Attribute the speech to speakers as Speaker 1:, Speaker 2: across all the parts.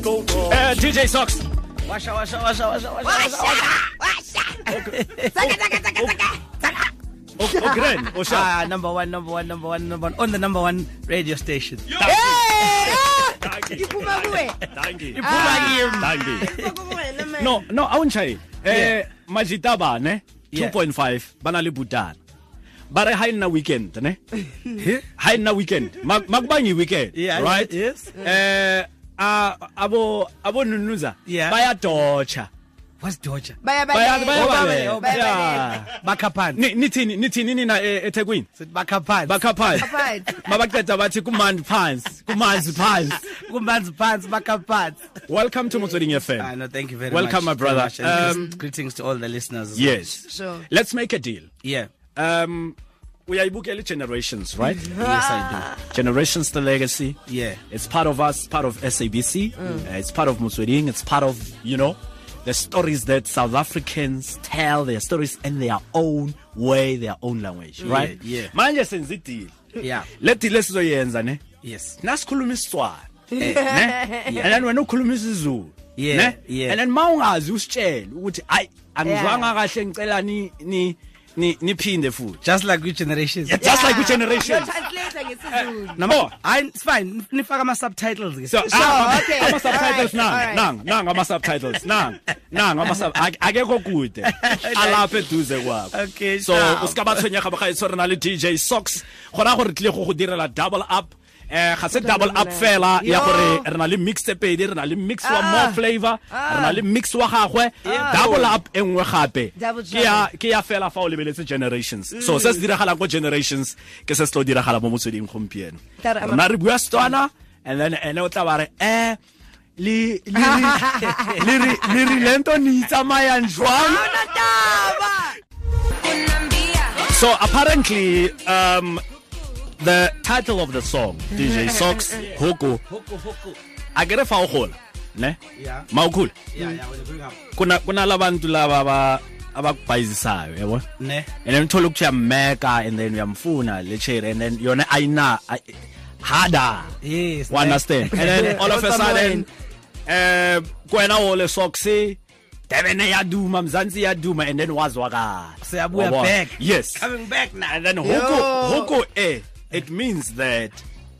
Speaker 1: Uh, DJ Socks.
Speaker 2: Washa, washa, washa, washa, washa, washa, washa.
Speaker 3: Oh.
Speaker 1: O- Ogren. Osha.
Speaker 2: Ah, number one, number one, number one, number one. On the number one radio station. Eh!
Speaker 3: Iphuma kuwe.
Speaker 1: Dangi.
Speaker 2: Ah.
Speaker 1: Dangi.
Speaker 3: Iphuma kuwena, man.
Speaker 1: No, no, I won't try. Eh,
Speaker 2: Yeah.
Speaker 1: Majitaba, ne?
Speaker 2: Yeah.
Speaker 1: 2.5. Bana le butana. Bare ha ina weekend, ne? Ha ina weekend. Mag- Makubangi weekend,
Speaker 2: Yeah,
Speaker 1: right?
Speaker 2: yes.
Speaker 1: Eh, ah, abo abo nunuza
Speaker 2: Yeah.
Speaker 1: bayadocha.
Speaker 2: What's Georgia?
Speaker 3: Baya-
Speaker 1: Baya- baya-
Speaker 3: baya- baya-
Speaker 1: baya-
Speaker 3: baya-
Speaker 1: Yeah.
Speaker 2: Bakapan.
Speaker 1: Ni- Nithini nithini nina e- eThekwini?
Speaker 2: Sit Bakapan.
Speaker 1: Bakaphansi.
Speaker 3: Baya-
Speaker 1: Mabaqeda bathi kumanzi phansi, kumanzi phansi.
Speaker 2: Kumban's pants, Bakapan.
Speaker 1: Welcome to Motsweding FM.
Speaker 2: Ah, no, thank you very
Speaker 1: Welcome, my
Speaker 2: much.
Speaker 1: brother.
Speaker 2: Very much. And
Speaker 1: Um,
Speaker 2: gre- greetings to all the listeners. as well.
Speaker 1: Yes.
Speaker 3: Sure.
Speaker 1: Let's make a deal.
Speaker 2: Yeah.
Speaker 1: Um, uyayibukela generations, right?
Speaker 2: Yes, I
Speaker 1: generations the legacy.
Speaker 2: do. Yeah.
Speaker 1: It's part of us, part of SABC.
Speaker 2: Mm.
Speaker 1: Uh, it's part of Musweding. It's part of you know the stories that South Africans tell their stories in their own way, their own language, right?
Speaker 2: yeah.
Speaker 1: Manje senza i-deal.
Speaker 2: Yeah.
Speaker 1: Le deal esizoyenza ne.
Speaker 2: Yes.
Speaker 1: nasikhuluma isitswana Eh, ne and then wena ukhuluma isizulu
Speaker 2: Eh, Yeah,
Speaker 1: ne
Speaker 2: yeah.
Speaker 1: and then mawungazi usitshele ukuthi hayi angizwanga kahle ngicela ni ni ni- niphinde futhi
Speaker 2: Just like your generations.
Speaker 1: Yeah, just like
Speaker 3: Yeah.
Speaker 1: generation
Speaker 3: Translator ngesiZulu.
Speaker 1: number
Speaker 2: I, it's fine. Nifaka ama subtitles.
Speaker 1: so
Speaker 3: Sure,
Speaker 1: ah,
Speaker 3: okay.
Speaker 1: ama subtitles
Speaker 3: Alright,
Speaker 1: nanga
Speaker 3: alright.
Speaker 1: nanga nanga ama subtitles nanga nanga ama sub ake- akekho kude alapha eduze kwakho
Speaker 2: Okay,
Speaker 1: so
Speaker 2: sharp.
Speaker 1: o ska ba tshwenyega bagaetso re na le dj socks gona gore re tlile go go direla double up eh ga se double up fela ya gore re na le mix e pedi re na le mix wa more flavor re na le mix wa gagwe double up e nngwe gape
Speaker 3: Double
Speaker 1: ke ya Ah, ke ya fela fa o lebeletse generations so se se diragalang ko generations ke se se tlo diragala mo motsweding gompieno
Speaker 3: Tara-
Speaker 1: rona re bua setswana and then ene o tla ba re eh le le re- le re- le re lento ne itsamayang jwang So apparently, um, the title of the song, DJ Socks Hoko,
Speaker 2: Huku, huku.
Speaker 1: I get a foul hole, ne?
Speaker 2: Yeah.
Speaker 1: Mawukhulu.
Speaker 2: Yeah, yeah, we'll bring up.
Speaker 1: Kuna kuna labantu laba aba abakubhayizisayo yabo
Speaker 2: Ne.
Speaker 1: and then uthola ukuthi uyameka and then uyamfuna le chair and then yona ayina ay- harder
Speaker 2: Yes.
Speaker 1: you understand and then all of a
Speaker 2: Put some more
Speaker 1: sudden
Speaker 2: in.
Speaker 1: um kwena wole socks Durban yaduma mzansi yaduma and then wazwakala
Speaker 2: Siyabuya
Speaker 1: Wabona?
Speaker 2: back.
Speaker 1: yes
Speaker 2: Coming back now.
Speaker 1: And then huko huko eh it means that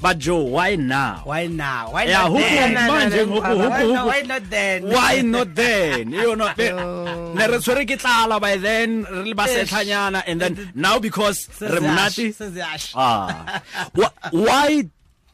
Speaker 1: but Joe why now?
Speaker 2: Why now? Why
Speaker 1: Yeah,
Speaker 2: not
Speaker 1: huku
Speaker 2: then?
Speaker 1: manje
Speaker 2: Why
Speaker 1: huku
Speaker 2: not-
Speaker 1: huku
Speaker 2: Why
Speaker 1: huku.
Speaker 2: not then?
Speaker 1: Why not then? You know be- ne re tshwere ke tlala by then re le basetlhanyana and then now because
Speaker 2: Says
Speaker 1: re
Speaker 2: the ash,
Speaker 1: monate
Speaker 2: says the ash.
Speaker 1: ah Wh- why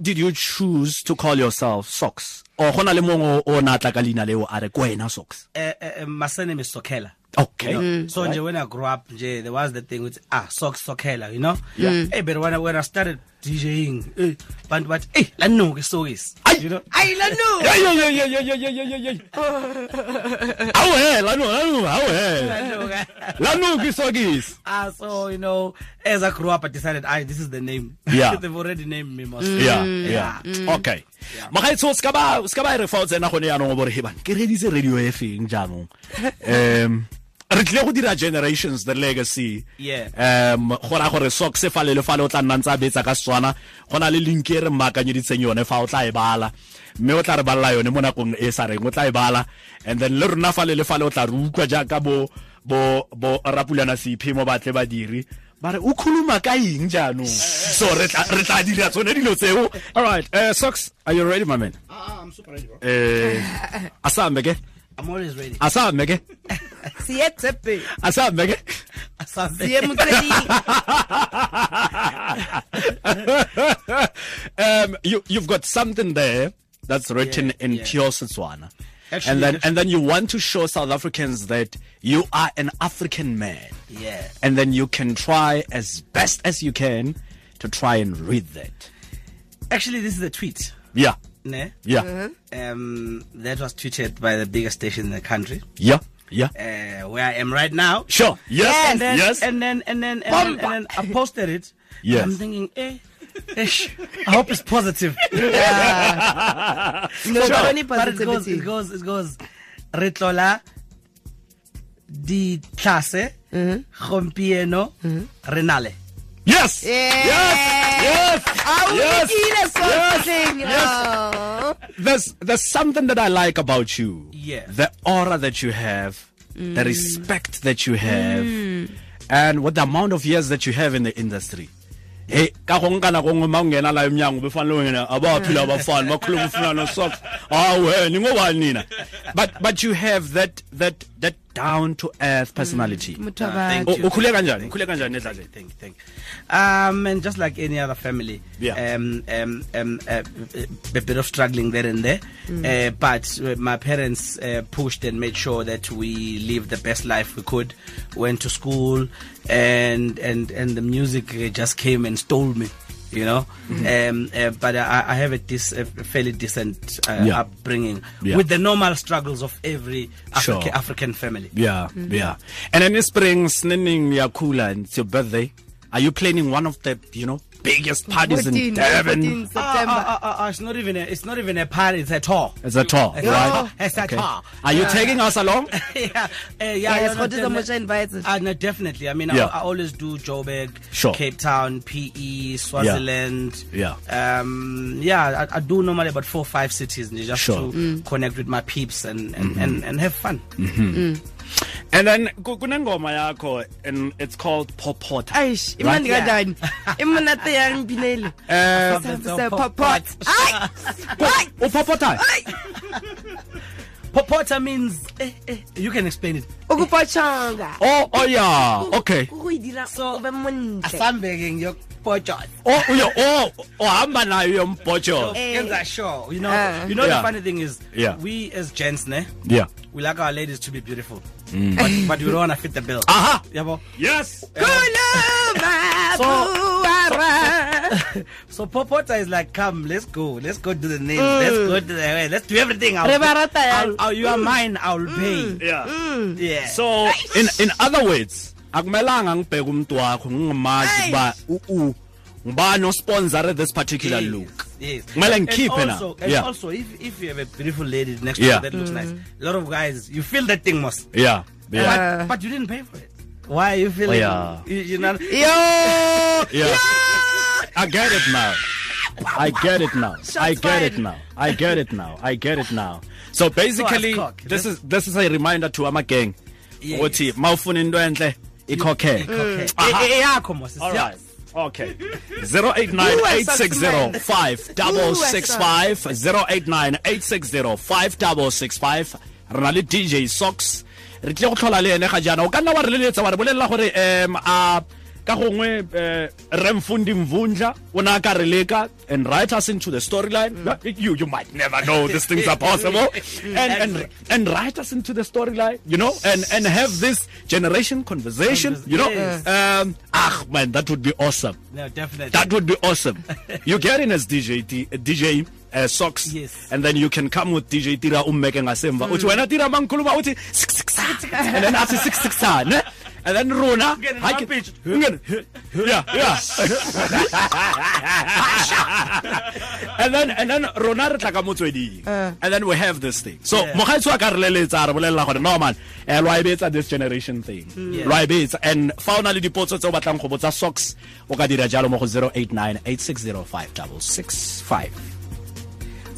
Speaker 1: did you choose to call yourself socks? Or gona le mongwe o na tla ka leina leo a re kwena socks.
Speaker 2: Eh, eh, eh, my surname is Sokela.
Speaker 1: Okay.
Speaker 2: So nje when I grew up, nje there was the thing with ah sock sokela, you know. Yeah. Hey, but when I when I started DJing, eh, but but hey, la no ke so is. You know.
Speaker 3: Ay, la nu.
Speaker 1: Yeah, yeah, yeah, yeah, yeah, yeah, yeah, yeah, yeah. Awe, lanu, lanu, awe. Lanu kisogis.
Speaker 2: Ah, so you know, as I grew up, I decided, I this is the name.
Speaker 1: Yeah. Mm.
Speaker 2: They've already named me. Most.
Speaker 1: yeah yeah
Speaker 2: Mm.
Speaker 1: okay magaetso ska ba ska ba e re fa o tsena gone ya no bo re heban ke reditse radio e feng jaanong um re tlile go dira generations the legacy
Speaker 2: Yeah.
Speaker 1: um go ra gore sock se fa le le fa le o tla nna ntse a betsa ka Setswana go na le link e re maakanyeditseng yone fa o tla e bala mme o tla re balela yone mo nakong e sa reng o tla e bala and then le rona fa le le fa le o tla re utlwa jaaka bo bo bo rapulana seiphemo batle badiri ba re o khuluma ka eng jaanong so re tla re tla dira tsone dilo tseo all right uh, socks are you ready my man
Speaker 2: Ah, I'm super ready, bro.
Speaker 1: eh asambe ke
Speaker 2: I'm always ready.
Speaker 1: asambe ke
Speaker 3: Siye tsepe.
Speaker 1: asambe ke
Speaker 3: Siye motsweding.
Speaker 1: um you you've got something there that's written
Speaker 2: Yeah,
Speaker 1: in
Speaker 2: yeah.
Speaker 1: pure Setswana
Speaker 2: Actually,
Speaker 1: and then
Speaker 2: actually-
Speaker 1: and then you want to show South Africans that you are an African man
Speaker 2: Yeah.
Speaker 1: and then you can try as best as you can to try and read that
Speaker 2: Actually, this is a tweet.
Speaker 1: yeah
Speaker 2: Ne?
Speaker 1: yeah
Speaker 2: Um, that was tweeted by the biggest station in the country,
Speaker 1: yeah yeah
Speaker 2: uh, where I am right now.
Speaker 1: sure yes
Speaker 2: And then,
Speaker 1: yes
Speaker 2: and then and then and, then, and then I posted it.
Speaker 1: Yes.
Speaker 2: I'm thinking, eh, ish, I hope it's positive.
Speaker 3: No,
Speaker 1: Sure.
Speaker 3: but only
Speaker 2: but it goes,
Speaker 3: positivity.
Speaker 2: it goes, it goes. Retlola, di
Speaker 1: Mm-hmm.
Speaker 2: clase, gompieno, renale.
Speaker 1: yes
Speaker 3: Yeah.
Speaker 1: yes Yes. Yes.
Speaker 3: awunikile
Speaker 1: Yes.
Speaker 3: something yes.
Speaker 1: there's there's something that I like about you.
Speaker 2: Yeah.
Speaker 1: The aura that you have, the respect that you have, and what the amount of years that you have in the industry. Hey, ka go nka nako nngwe ma o ngena la emnyango be fane le o ngena, a ba a phela bafana makhulu mfuna no socks ah wena ngobani nina but but you have that that that down to earth personality
Speaker 3: motho
Speaker 2: Ah, thank
Speaker 3: wa
Speaker 1: O-
Speaker 2: you.
Speaker 1: ukhule kanjani ukhule kanjani edlaleni
Speaker 2: Thank you, thank you. Um, and just like any other family,
Speaker 1: Yeah.
Speaker 2: um, um, um, uh, a bit of struggling there and there.
Speaker 1: Mm.
Speaker 2: Uh, but uh, my parents uh, pushed and made sure that we lived the best life we could. Went to school, and and and the music uh, just came and stole me. You know,
Speaker 1: Mm-hmm.
Speaker 2: um, uh, but I, I have a, dis, a fairly decent uh,
Speaker 1: Yeah.
Speaker 2: upbringing
Speaker 1: Yeah.
Speaker 2: with the normal struggles of every Africa,
Speaker 1: Sure.
Speaker 2: African family.
Speaker 1: Yeah,
Speaker 2: Mm-hmm.
Speaker 1: yeah. And then in spring, Snining Yakula, and it's your birthday. Are you planning one of the, you know, biggest parties
Speaker 3: 14,
Speaker 1: in Durban?
Speaker 3: 14 September.
Speaker 2: Ah, ah, ah, ah, it's not even a, it's not even a party. It's a tour.
Speaker 1: It's a tour,
Speaker 2: It's a
Speaker 1: right?
Speaker 2: tour. It's a tour.
Speaker 1: Are you taking us along?
Speaker 2: yeah, uh, yeah,
Speaker 1: ah.
Speaker 3: Yeah,
Speaker 2: yeah,
Speaker 3: yes,
Speaker 2: no,
Speaker 3: what is the
Speaker 2: definitely.
Speaker 3: Moshe invited?
Speaker 2: Ah, no, definitely. I mean,
Speaker 1: Yeah.
Speaker 2: I, I always do Joburg,
Speaker 1: Sure.
Speaker 2: Cape Town, PE, Swaziland.
Speaker 1: Yeah.
Speaker 2: Um, yeah, I, I do normally about four or five cities and just
Speaker 1: Sure. Mm. Mm-hmm.
Speaker 2: to connect with my peeps and, and, and, and have fun.
Speaker 1: and then, ku- kunengoma yakho, and it's called Popota.
Speaker 3: Aish, imandi
Speaker 1: Right.
Speaker 3: kanjani? Imunate yangibineli.
Speaker 1: Uh,
Speaker 3: Sasa popot. Ay! Ay!
Speaker 1: Popota.
Speaker 2: Popota means eh, eh, you can explain it.
Speaker 3: Ukupochonga.
Speaker 1: Oh, oh yeah. Okay.
Speaker 3: Ukuidira
Speaker 2: So-
Speaker 3: ube munhle.
Speaker 2: Asambeking your pochot.
Speaker 1: Oh, uyo, oh, oh, hamba nayo yompocho.
Speaker 3: Eh.
Speaker 2: Things are sure. You know,
Speaker 3: Ah.
Speaker 2: you know
Speaker 1: Yeah.
Speaker 2: the funny thing is,
Speaker 1: Yeah.
Speaker 2: we as gents, ne,
Speaker 1: Yeah.
Speaker 2: we like our ladies to be beautiful,
Speaker 1: Mm.
Speaker 2: but, but we don't want to fit the bill.
Speaker 1: Aha.
Speaker 2: Yabo.
Speaker 1: Yes.
Speaker 3: Kuluma buara.
Speaker 2: So Popota is like, come, let's go, let's go do the nails,
Speaker 1: Mm.
Speaker 2: let's go to the hair, let's do everything. I'll,
Speaker 3: Re ba rata
Speaker 2: I'll,
Speaker 3: yang.
Speaker 2: I'll- you are mine, I'll pay.
Speaker 1: Yeah.
Speaker 2: Yeah.
Speaker 1: Mm. So in in other words, akumelanga ngibheke umuntu wakho ngingamazi
Speaker 3: Eish.
Speaker 1: kuba u u ngibani osponsor this particular
Speaker 2: Yes,
Speaker 1: look.
Speaker 2: Yes.
Speaker 1: Kumele ngikhiphe na.
Speaker 2: also, and
Speaker 1: Yeah.
Speaker 2: also, if if you have a beautiful lady next
Speaker 1: Yeah.
Speaker 2: to you that looks nice, a lot of guys, you feel that thing most,
Speaker 1: Yeah. Yeah.
Speaker 2: but, but you didn't pay for it. Why are you
Speaker 1: Oh,
Speaker 2: feeling?
Speaker 1: yeah.
Speaker 2: You, you know.
Speaker 3: Yo!
Speaker 1: yeah. I get it now. I get it now. I get it
Speaker 3: fired.
Speaker 1: now. I get it now. I get it now. So basically,
Speaker 2: So as cock,
Speaker 1: this
Speaker 2: this-
Speaker 1: is this is a reminder to ama gang.
Speaker 2: Yes.
Speaker 1: Ukuthi mawufuna into enhle ikhokhele.
Speaker 2: Okay.
Speaker 1: Aha.
Speaker 2: Eh, eh, yakho, Moses,
Speaker 1: All
Speaker 2: yeah.
Speaker 1: right. Okay. 089-860-5665. 089-860-5665. re na le dj socks re tle go tlhola le ene ga jaana o ka nna wa re leletsa wa re bolelela gore um a ka gongwe eh, remfundi mvundla o ne a ka re leka and write us into the storyline you, you might never know these things are possible and, and, and write us into the storyline you know and, and have this generation conversation you know
Speaker 2: Yes.
Speaker 1: um, ah, man, that would be awesome.
Speaker 2: No, definitely.
Speaker 1: That would be awesome. you get in as DJ, T- uh, DJ uh, Socks,
Speaker 2: Yes.
Speaker 1: and then you can come with DJ Tira Ummeke Ngasemba. Uthi wena Tira mangikhuluma uthi six six and then after six six ne? And then Rona,
Speaker 2: Ungene
Speaker 1: I can-
Speaker 2: ngapitch.
Speaker 1: Ungene- yeah, yeah. and then and then Rona re tla ka motsweding. And then we have this thing. So
Speaker 2: Yeah.
Speaker 1: mogaetsi wa ka re leletsa re bolelela gore no man, eh lo ibetsa this generation thing.
Speaker 2: Yeah.
Speaker 1: Lo ibetsa and fa o na le dipotso tse o batlang go botsa socks o ka dira jalo mo go 0898605665.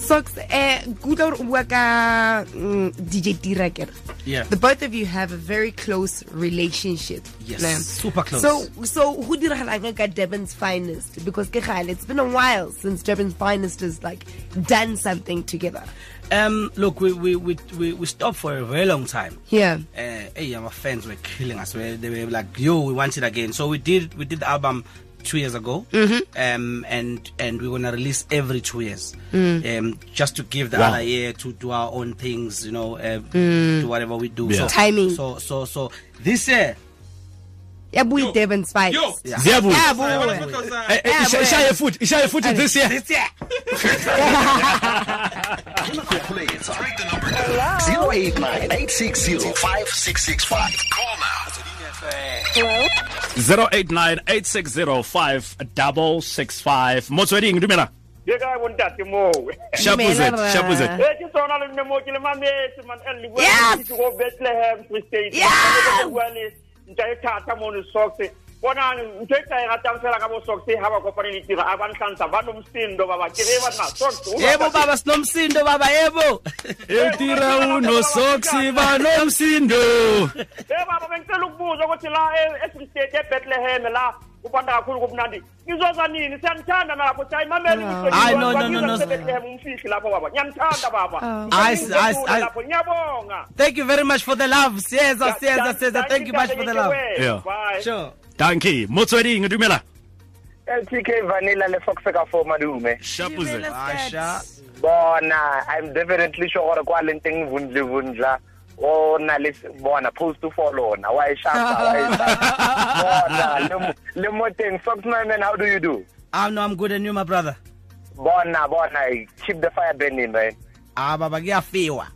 Speaker 3: Socks, eh, kutlwa hore o bua ka mm, DJ Tira kere.
Speaker 2: Yeah.
Speaker 3: The both of you have a very close relationship.
Speaker 2: Yes,
Speaker 3: ne?
Speaker 2: super close.
Speaker 3: So, so who did ka Durban's finest? Because ke kgale, it's been a while since Durban's finest has like done something together.
Speaker 2: Um, look, we we, we, we we stopped for a very long time.
Speaker 3: Yeah.
Speaker 2: Uh, hey, our fans were killing us. We- They were like, "Yo, we want it again." So we did we did the album two years ago, um, and and we're gonna release every two years, um, just to give the
Speaker 1: Wow.
Speaker 2: other year to do our own things, you know, uh, do whatever we do.
Speaker 1: Yeah.
Speaker 2: So,
Speaker 3: Timing.
Speaker 2: So so so this year,
Speaker 3: Yabuyi Durban's finest.
Speaker 2: Yeah.
Speaker 1: Ziyabuya.
Speaker 3: Yabuya.
Speaker 1: Eh, eh, isha-
Speaker 3: Yeah,
Speaker 1: ishaye futhi, ishaye futhi this year.
Speaker 2: this year.
Speaker 4: Let's break the number down. 089 860 5665. Call now.
Speaker 1: 0898605665 motsweding dumela
Speaker 5: ke kae bontate moo
Speaker 1: shapuzet
Speaker 3: Dumela, ra.
Speaker 2: Ah.
Speaker 1: shapuzet
Speaker 5: e ke tsona le mme mo ke le mametse
Speaker 3: Yes.
Speaker 5: manlebo bethlehem free state
Speaker 3: Yeah.
Speaker 5: bua le ntae thata mone sox bona ntho e ka e ratang fela ka bo socks ha ba kopane le tiro a ba ntlhantsha ba nomsindo baba ke ge ba na socks o
Speaker 2: yebo
Speaker 5: ba-
Speaker 2: baba sinomsindo baba yebo
Speaker 1: Eltira E uno soksi banomsindo.
Speaker 5: Eh, baba bengicela ukubuza ukuthi la e- e-Free State ebethlehem la kubanda kakhulu kubunandi ngizoza nini siyanithanda nalapho siyayimamela
Speaker 3: Oh.
Speaker 5: imihlobo
Speaker 2: Ah. Hayi,
Speaker 5: yenu.
Speaker 2: no, no, no,
Speaker 5: Ngizoza
Speaker 2: no.
Speaker 5: eBethlehem, umfihli lapho baba ngiyamthanda baba
Speaker 3: Oh.
Speaker 2: Hayi,
Speaker 5: Ngizwa
Speaker 2: hayi,
Speaker 5: ngiyakuzwa
Speaker 2: hayi.
Speaker 5: lapho ngiyabonga
Speaker 2: thank you very much for the love siyeza siyeza
Speaker 5: Siya-
Speaker 2: siyeza
Speaker 5: siya-
Speaker 2: thank you much for the love
Speaker 5: siya-
Speaker 1: Yeah.
Speaker 5: Bye.
Speaker 2: sure
Speaker 1: Dankie. Motsweding dumela.
Speaker 6: LTK Vanilla le Fox ka for madume.
Speaker 1: Shapuze.
Speaker 2: Asha.
Speaker 6: Bona, I'm definitely sure gore kwa leng teng vundle vundla. O na le bona post to follow na wa e shapa wa e shapa. Bona le mo- le mo teng Fox my man how do you do?
Speaker 2: Ah no, I'm good and you my brother.
Speaker 6: Bona bona keep the fire burning man.
Speaker 2: Ah baba kuyafiwa.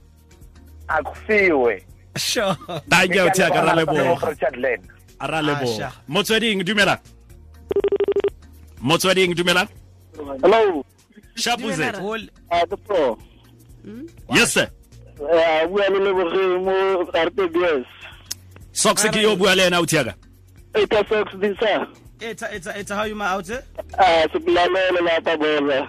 Speaker 6: Akufiwe.
Speaker 2: Sure.
Speaker 1: Dankie o tia ka ra leboga.
Speaker 6: Richardland.
Speaker 1: Ra
Speaker 2: Asha.
Speaker 1: leboga. Motsweding dumela. Motsweding dumela.
Speaker 7: Hello,
Speaker 1: Shapuze.
Speaker 2: Cool.
Speaker 7: uh, the pro.
Speaker 1: Yes sir.
Speaker 7: Uh, we are living mo RPBS.
Speaker 1: Soksi ke yo bua le ena o tia ka.
Speaker 7: It is sex disa.
Speaker 2: It's it's it's how you ma out eh?
Speaker 7: Uh, sibulalele lapha bona.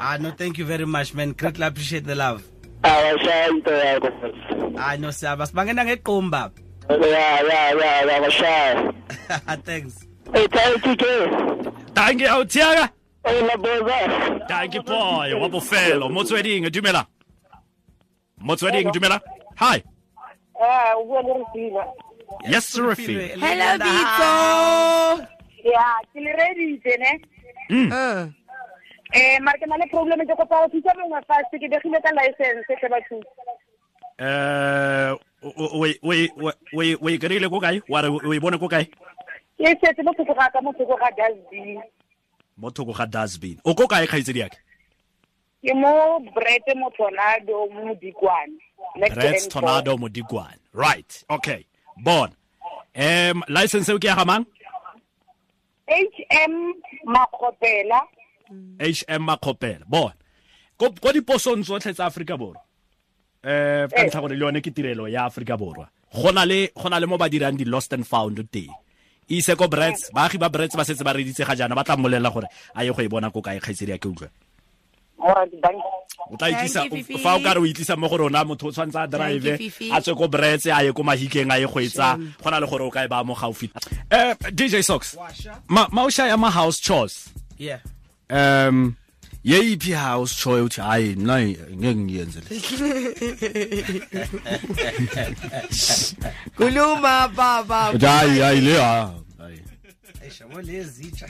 Speaker 2: Ah no, thank you very much man. Greatly appreciate the love.
Speaker 7: Ah, Awashaya into yakho.
Speaker 2: Ah no, siyaba sibangena ngequmba.
Speaker 7: Ah, Yeah, yeah, yeah, yeah, awashaya.
Speaker 2: Thanks.
Speaker 7: It's LTK.
Speaker 1: Dankie o tia ka.
Speaker 7: Ola boza.
Speaker 1: Dankie boy wa bofelo. Motsweding dumela. Motsweding dumela. Hi.
Speaker 8: Ah, bua le Rufina.
Speaker 1: Yes sir. Rafi.
Speaker 3: Hello,
Speaker 8: Ya, ke le eh? reditse ne
Speaker 2: Ah.
Speaker 3: Uh,
Speaker 8: um mare ke na le problem ke kopa go thusa mongwe fast ke begile ka license tle batho
Speaker 1: Eh o o o o kerile ko kae? Wa re o e bone ko kae?
Speaker 8: e setse mo thoko ga ka mo thoko ga dusbin
Speaker 1: Mo thoko ga dustbin. O ko kae kgaitsedi yake?
Speaker 8: ke mo brete mo tornado mo modikwane Next to
Speaker 1: Reds
Speaker 8: N4.
Speaker 1: Tornado Modigwan. Right. Okay. Born. Um license o ke ya ga mang?
Speaker 8: hm makgopela
Speaker 1: HM Makopela. Born. Ko ko diposong tsotlhe tsa Africa borwa. Eh ka ntlha gore le yone ke tirelo ya Africa borwa. Gona le gona le mo ba dirang di lost and found teng. Ise ko Brits, baagi ba Brits ba setse ba reditse ga jaana ba tla mmolella gore a ye go e bona ko kae kgaitsedi ya ke utlwa.
Speaker 8: Alright, thank you.
Speaker 1: o tla itlisa
Speaker 3: Thank you, Fifi.
Speaker 1: fa o ka re o itlisa mo go rona motho o tshwanetse a drive
Speaker 3: Thank you, Fifi.
Speaker 1: a tswe ko bretse a ye ko mahikeng a ye go etsa go na le gore o ka e ba mo gaufi Eh, dj socks
Speaker 2: Washa.
Speaker 1: ma ma o shaya ma house chores
Speaker 2: Yeah.
Speaker 1: um ye iphi house chore uthi hayi mna ngeke ngiyenze le
Speaker 3: Kuluma, Baba.
Speaker 1: uthi hayi hayi le ha hayi."
Speaker 2: Eish, mo lezitsha.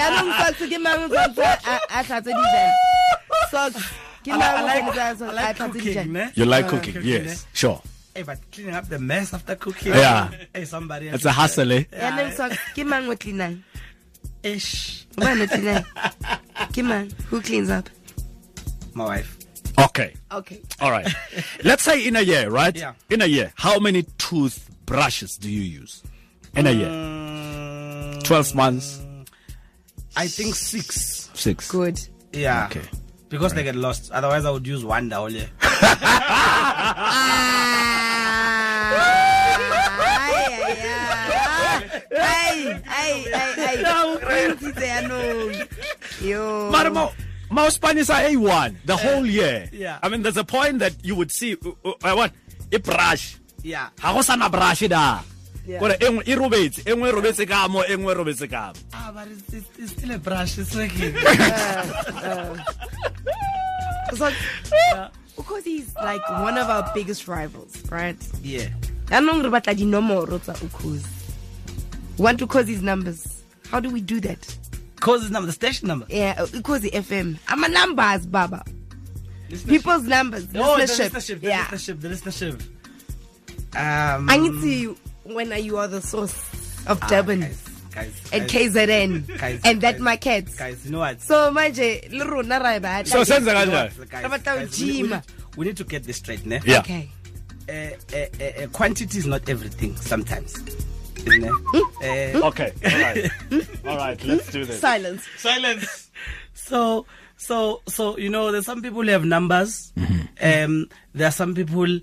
Speaker 3: Yanong socks ke mang o tshwanetse a a tlhatswe dijana? Socks ke mang o tshwanetse a- a tlhatswe
Speaker 2: cooking,
Speaker 3: dijana?
Speaker 2: ne?
Speaker 1: you like cooking
Speaker 2: cooking,
Speaker 1: yes sure
Speaker 2: Hey, but cleaning up the mess after cooking.
Speaker 1: Yeah.
Speaker 2: Hey, somebody.
Speaker 1: it's a hustle eh
Speaker 3: Yanong socks ke mang o clean-ang?
Speaker 2: Ish.
Speaker 3: Obani o clean-ang? Ke mang? Who cleans up?
Speaker 2: My wife.
Speaker 1: okay
Speaker 3: Okay.
Speaker 1: all right let's say in a year right
Speaker 2: Yeah.
Speaker 1: in a year how many toothbrushes do you use in a year 12 months
Speaker 2: Mm, I think six.
Speaker 1: 6
Speaker 3: Good.
Speaker 2: Yeah.
Speaker 1: Okay.
Speaker 2: Because they get lost. Otherwise, I would use one down there.
Speaker 3: Ah. Ai, ai, ai. Ai, ai, ai, ai. O ntshitse yanong. Yo.
Speaker 1: But Mo, Mo Spain is a A1 the whole year.
Speaker 2: Uh, yeah.
Speaker 1: I mean, there's a point that you would see, uh, uh, uh, what? A brush.
Speaker 2: Yeah.
Speaker 1: Ga go sana brush da. Gore engwe e robetse, engwe e robetse ka mo, engwe e robetse ka mo.
Speaker 2: Ah, but it's, it's, it's still a brush. It's working.
Speaker 3: So, because he's like one of our biggest rivals, right?
Speaker 2: yeah.
Speaker 3: Yanong re batla dinomoro tsa Ukhozi. Want Ukhozi's numbers. How do we do that?
Speaker 2: Cause it's number, the station number.
Speaker 3: Yeah, Ukhozi FM. I'm a numbers, Baba. People's numbers.
Speaker 2: Oh, the
Speaker 3: listenership.
Speaker 2: listenership. The
Speaker 3: Yeah.
Speaker 2: listenership. The listenership. Um,
Speaker 3: I need to when are you are the source of Durban
Speaker 2: Ah, guys, guys,
Speaker 3: and
Speaker 2: guys,
Speaker 3: KZN
Speaker 2: guys,
Speaker 3: and that
Speaker 2: guys,
Speaker 3: my cats.
Speaker 2: guys, you know what?
Speaker 3: So manje le rona ra e batla.
Speaker 1: So senza
Speaker 2: You know
Speaker 1: kanjani?
Speaker 2: what, guys,
Speaker 3: How about
Speaker 2: guys,
Speaker 3: that
Speaker 2: we, need- we,
Speaker 3: Jima?
Speaker 2: need, we need to get this straight, ne?
Speaker 1: Yeah.
Speaker 3: Okay.
Speaker 2: Uh, uh, uh, quantity is not everything sometimes. Isn't it? Eh,
Speaker 1: Okay. All right. all right, let's do this.
Speaker 3: Silence.
Speaker 2: silence. So, so, so
Speaker 1: Mm-hmm.
Speaker 2: you know, there's some people who have numbers. Um, there are some people.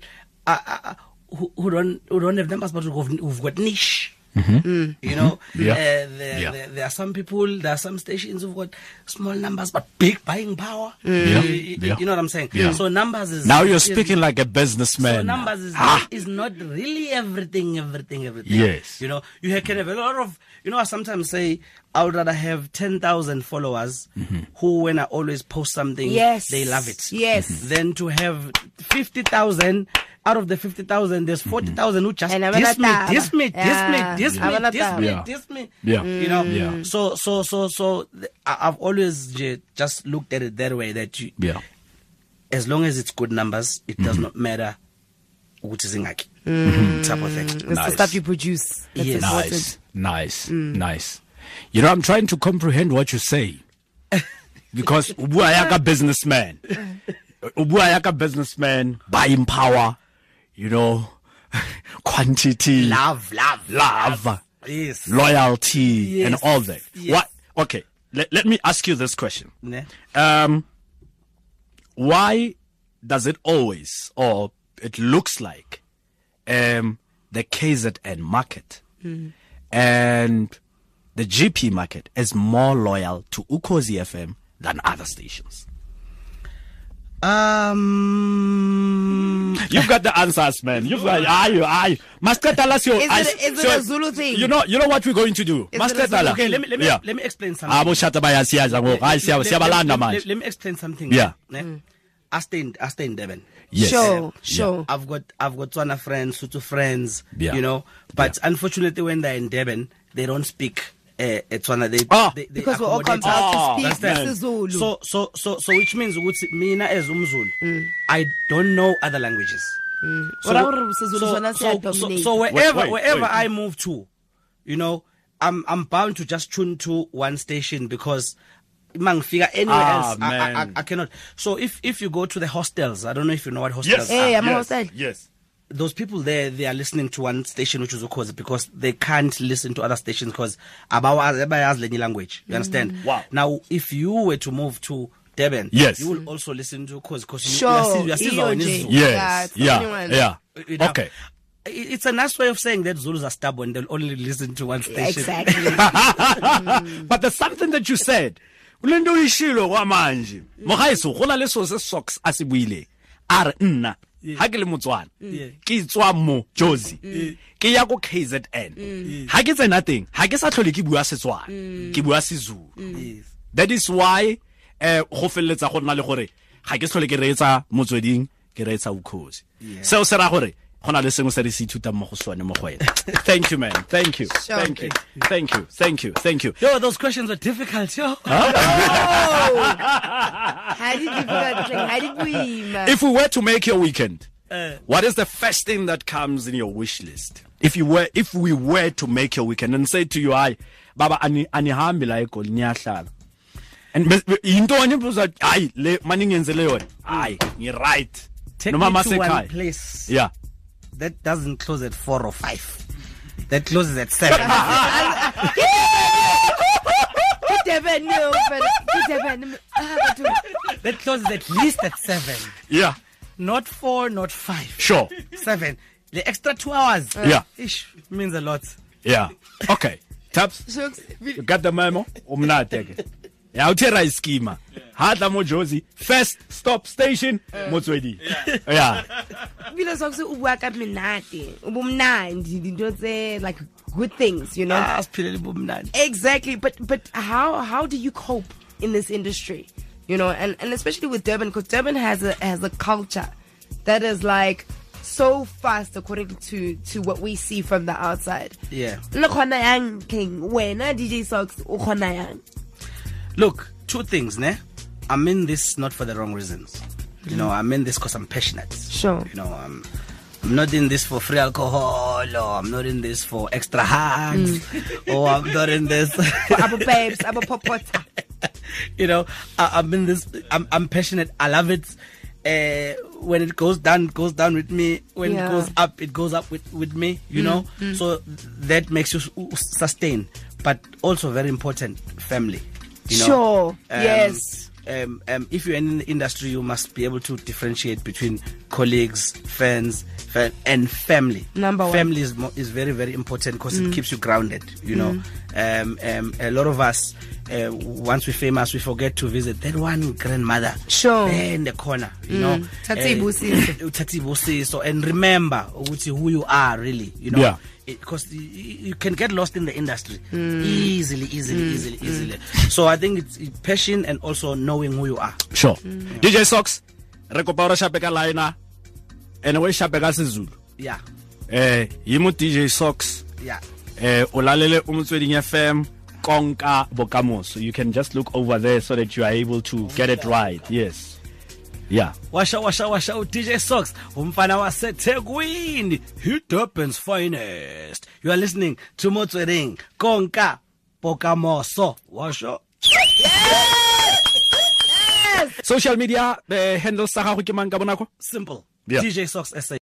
Speaker 2: Uh, uh, who, who don't who don't have numbers but who've, who've got niche. You know,
Speaker 1: Mm-hmm. Yeah.
Speaker 2: uh, there,
Speaker 1: Yeah.
Speaker 2: There, there are some people, there are some stations who've got small numbers but big buying power.
Speaker 1: Yeah.
Speaker 2: You, you-
Speaker 1: Yeah.
Speaker 2: you know what I'm saying?
Speaker 1: Yeah.
Speaker 2: So numbers is
Speaker 1: Now you're
Speaker 2: is-
Speaker 1: speaking like a businessman.
Speaker 2: so numbers is, is not really everything, everything, everything.
Speaker 1: Yes.
Speaker 2: You know, you ha- can have a lot of, you know, I sometimes say, I would rather have 10,000 followers
Speaker 1: Mm-hmm.
Speaker 2: who, when I always post something,
Speaker 3: Yes.
Speaker 2: they love it.
Speaker 3: Yes.
Speaker 1: Mm-hmm.
Speaker 3: Mhm.
Speaker 2: Than to have 50,000. Out of the 50,000,
Speaker 1: Mm-hmm.
Speaker 2: there's 40,000 who just
Speaker 3: And I
Speaker 2: diss me,
Speaker 3: wanna
Speaker 2: diss me,
Speaker 3: taba.
Speaker 2: diss me, diss
Speaker 3: Yeah. I
Speaker 2: me,
Speaker 3: wanna
Speaker 2: diss me,
Speaker 1: taba.
Speaker 2: diss me.
Speaker 1: Yeah.
Speaker 2: You know?
Speaker 1: Yeah.
Speaker 2: So, so, so, so, th- I- I've always j- just looked at it that way that you,
Speaker 1: Yeah.
Speaker 2: as long as it's good numbers, it
Speaker 1: Mhm.
Speaker 2: does not matter which is ingaki
Speaker 1: Mm.
Speaker 2: type of thing.
Speaker 3: It's the stuff you produce. That's
Speaker 2: Yes.
Speaker 3: important.
Speaker 1: Nice. Nice. Nice. You know, I'm trying to comprehend what you say. because o bua yaka businessman. O bua yaka businessman, buying power, you know, quantity,
Speaker 2: Love, love,
Speaker 1: love,
Speaker 2: Yes.
Speaker 1: loyalty, and all that.
Speaker 2: yes.
Speaker 1: What? Okay. Let, let me ask you this question.
Speaker 2: Ne?
Speaker 1: um, why does it always, or it looks like, um, the KZN market
Speaker 3: Hmm.
Speaker 1: and the GP market is more loyal to Ukozi FM than other stations?
Speaker 2: Um,
Speaker 1: You've got the answers, man. You've got aye, aye. Mascatala, so
Speaker 3: Is it- is it a Zulu thing?
Speaker 1: You know, you know what we're going to do,
Speaker 3: it a Zulu-
Speaker 1: Mascatala.
Speaker 2: okay, let me let me
Speaker 1: yeah.
Speaker 2: let me explain something.
Speaker 1: Abo Ah, shata ba ya siyaza ngoku. Hayi, siya-
Speaker 2: Let- let-
Speaker 1: siyabalanda
Speaker 2: let-
Speaker 1: manje.
Speaker 2: let- Let me explain something.
Speaker 1: Yeah.
Speaker 2: Ne?
Speaker 3: Mm.
Speaker 2: I stay in I stay in Devon.
Speaker 1: Yes.
Speaker 3: Sure, sure.
Speaker 2: I've got I've got Tswana friends, Sutu friends,
Speaker 1: Yeah.
Speaker 2: you know. But unfortunately, when they're in Devon, they don't speak uh, Tswana. They,
Speaker 1: Ah.
Speaker 2: they, they
Speaker 3: Because we're all
Speaker 2: accommodate Ah, us.
Speaker 3: compelled to
Speaker 1: Oh,
Speaker 3: speak
Speaker 1: man.
Speaker 3: isiZulu.
Speaker 2: So so so so which means ukuthi mina as umZulu I don't know other languages. So,
Speaker 3: Ora ore isiZulu sona
Speaker 2: so, so,
Speaker 3: siyadominate.
Speaker 2: so wherever
Speaker 1: Wait, wait,
Speaker 2: wherever
Speaker 1: wait.
Speaker 2: I move to, you know, I'm I'm bound to just tune to one station because mangfika anywhere
Speaker 1: Ah,
Speaker 2: else I, I, I,
Speaker 1: man.
Speaker 2: I cannot. So if if you go to the hostels, I don't know if you know what hostels
Speaker 3: Hey,
Speaker 2: are.
Speaker 3: I'm outside.
Speaker 1: yes.
Speaker 2: Those people there they are listening to one station which is Ukhozi because they can't listen to other stations because abayazi lenye language. You understand?
Speaker 3: Mm.
Speaker 1: Wow.
Speaker 2: Now if you were to move to Durban,
Speaker 1: Yes.
Speaker 2: you will also listen to Ukhozi because
Speaker 3: Sure.
Speaker 2: you, are still
Speaker 3: Iyo
Speaker 2: on
Speaker 3: nje. Yeah,
Speaker 1: Yes.
Speaker 3: it's the only
Speaker 1: Yeah.
Speaker 3: one.
Speaker 1: Yeah.
Speaker 2: you know,
Speaker 1: Okay.
Speaker 2: i- It's a nice way of saying that Zulus are stubborn. They'll only listen to one station.
Speaker 3: Exactly.
Speaker 1: but there's something that you said kule nto ishilo kwa manje mogaiso go na le seo se socks a se buileng a re nna ga ke le motswana ke tswa mo josi ke ya ko kzn ga ke tsena teng ga ke sa tlhole ke bua setswana ke bua
Speaker 2: Mm.
Speaker 1: sezulu that is why um go feleletsa go nna le gore ga ke tlhole ke reetsa motsweding ke reetsa ukgosi seo se raya gore go na le sengwe se re se ithutang mo go sone mo go wena thank you man thank you
Speaker 3: Sure.
Speaker 1: thank you thank you thank you thank you
Speaker 2: Yo, those questions were difficult, yo.
Speaker 3: Oh! How did you put that thing? How did we?
Speaker 2: Uh.
Speaker 3: man?
Speaker 1: if we were to make your weekend, what is the first thing that comes in your wish list? If you were, if we were to make your weekend and say to you, "I, Baba, ani anihambi la iko niyahlala," and bes- into anibuza, "Ay, le mani ngenzele yona." Ay, you're right.
Speaker 2: Take
Speaker 1: Noma
Speaker 2: me to one
Speaker 1: masekhaya.
Speaker 2: place
Speaker 1: Yeah.
Speaker 2: that doesn't close at four or five. That closes at seven.
Speaker 3: Ke Durban, no, but ke Durban. Ah, but who-
Speaker 2: that closes at least at seven.
Speaker 1: Yeah.
Speaker 2: Not four, not five.
Speaker 1: Sure.
Speaker 2: Seven. The extra two hours.
Speaker 1: Yeah.
Speaker 2: Ish, means a lot.
Speaker 1: Yeah. Okay. Taps.
Speaker 3: Shucks.
Speaker 1: You got the memo? Umnate ke. Ya uthe ra iskima. Hatla mo Jozi. First stop station Motswedi. Yeah.
Speaker 3: Bila socks u bua ka menate. U bomnandi, dinto tse like good things, you know.
Speaker 2: Ah, siphilele ubumnandi.
Speaker 3: Exactly, but but how how do you cope in this industry? You know, and, and especially with Durban, because Durban has a has a culture that is like so fast according to to what we see from the outside.
Speaker 2: Yeah.
Speaker 3: Look yang king when DJ Socks yang.
Speaker 2: Look, two things, ne? I'm in this not for the wrong reasons. You know, I'm in this because I'm passionate.
Speaker 3: Sure.
Speaker 2: You know, I'm, I'm not in this for free alcohol, or I'm not in this for extra hugs, or I'm not in this.
Speaker 3: For our babes, our popota.
Speaker 2: you know, I, I'm in this. I'm, I'm passionate. I love it. Uh, when it goes down, it goes down with me. When
Speaker 3: Yeah. Mm,
Speaker 2: it goes up, it goes up with, with me. You know, so that makes you s- sustain. But also very important, family. You know?
Speaker 3: Sure.
Speaker 2: Um,
Speaker 3: yes.
Speaker 2: um, um, if you're in the industry, you must be able to differentiate between colleagues, friends, fa- and family.
Speaker 3: Number one.
Speaker 2: Family is, mo- is very, very important because it keeps you grounded, you know. Um, um, a lot of us, uh, once we're famous, we forget to visit that one grandmother
Speaker 3: Sure.
Speaker 2: there in the corner, you know.
Speaker 3: Thathi
Speaker 2: Eh,
Speaker 3: ibusiso.
Speaker 2: thathi ibusiso. And remember ukuthi who you are, really, you know. Eh,
Speaker 1: Yeah.
Speaker 2: Because you can get lost in the industry easily, easily, easily, easily. So I think it's passion and also knowing who you are.
Speaker 1: sure dj socks re kopa gore shape ka lina and we shape ka sezulu
Speaker 2: Yeah,
Speaker 1: eh yi mo dj socks
Speaker 2: yeah.
Speaker 1: eh o lalele o motsweding fm konka bokamoso you can just look over there so that you are able to get it right yes yeah
Speaker 2: Washa, washa, washa, DJ Socks. Umfana waseThekwini. Durban's finest. You are listening to Motsweding. Konka Pokamoso. Washa.
Speaker 1: social media eh, handles tsa gago ke mang ka bonako
Speaker 2: Simple.
Speaker 1: Yeah.
Speaker 2: DJ Socks SA.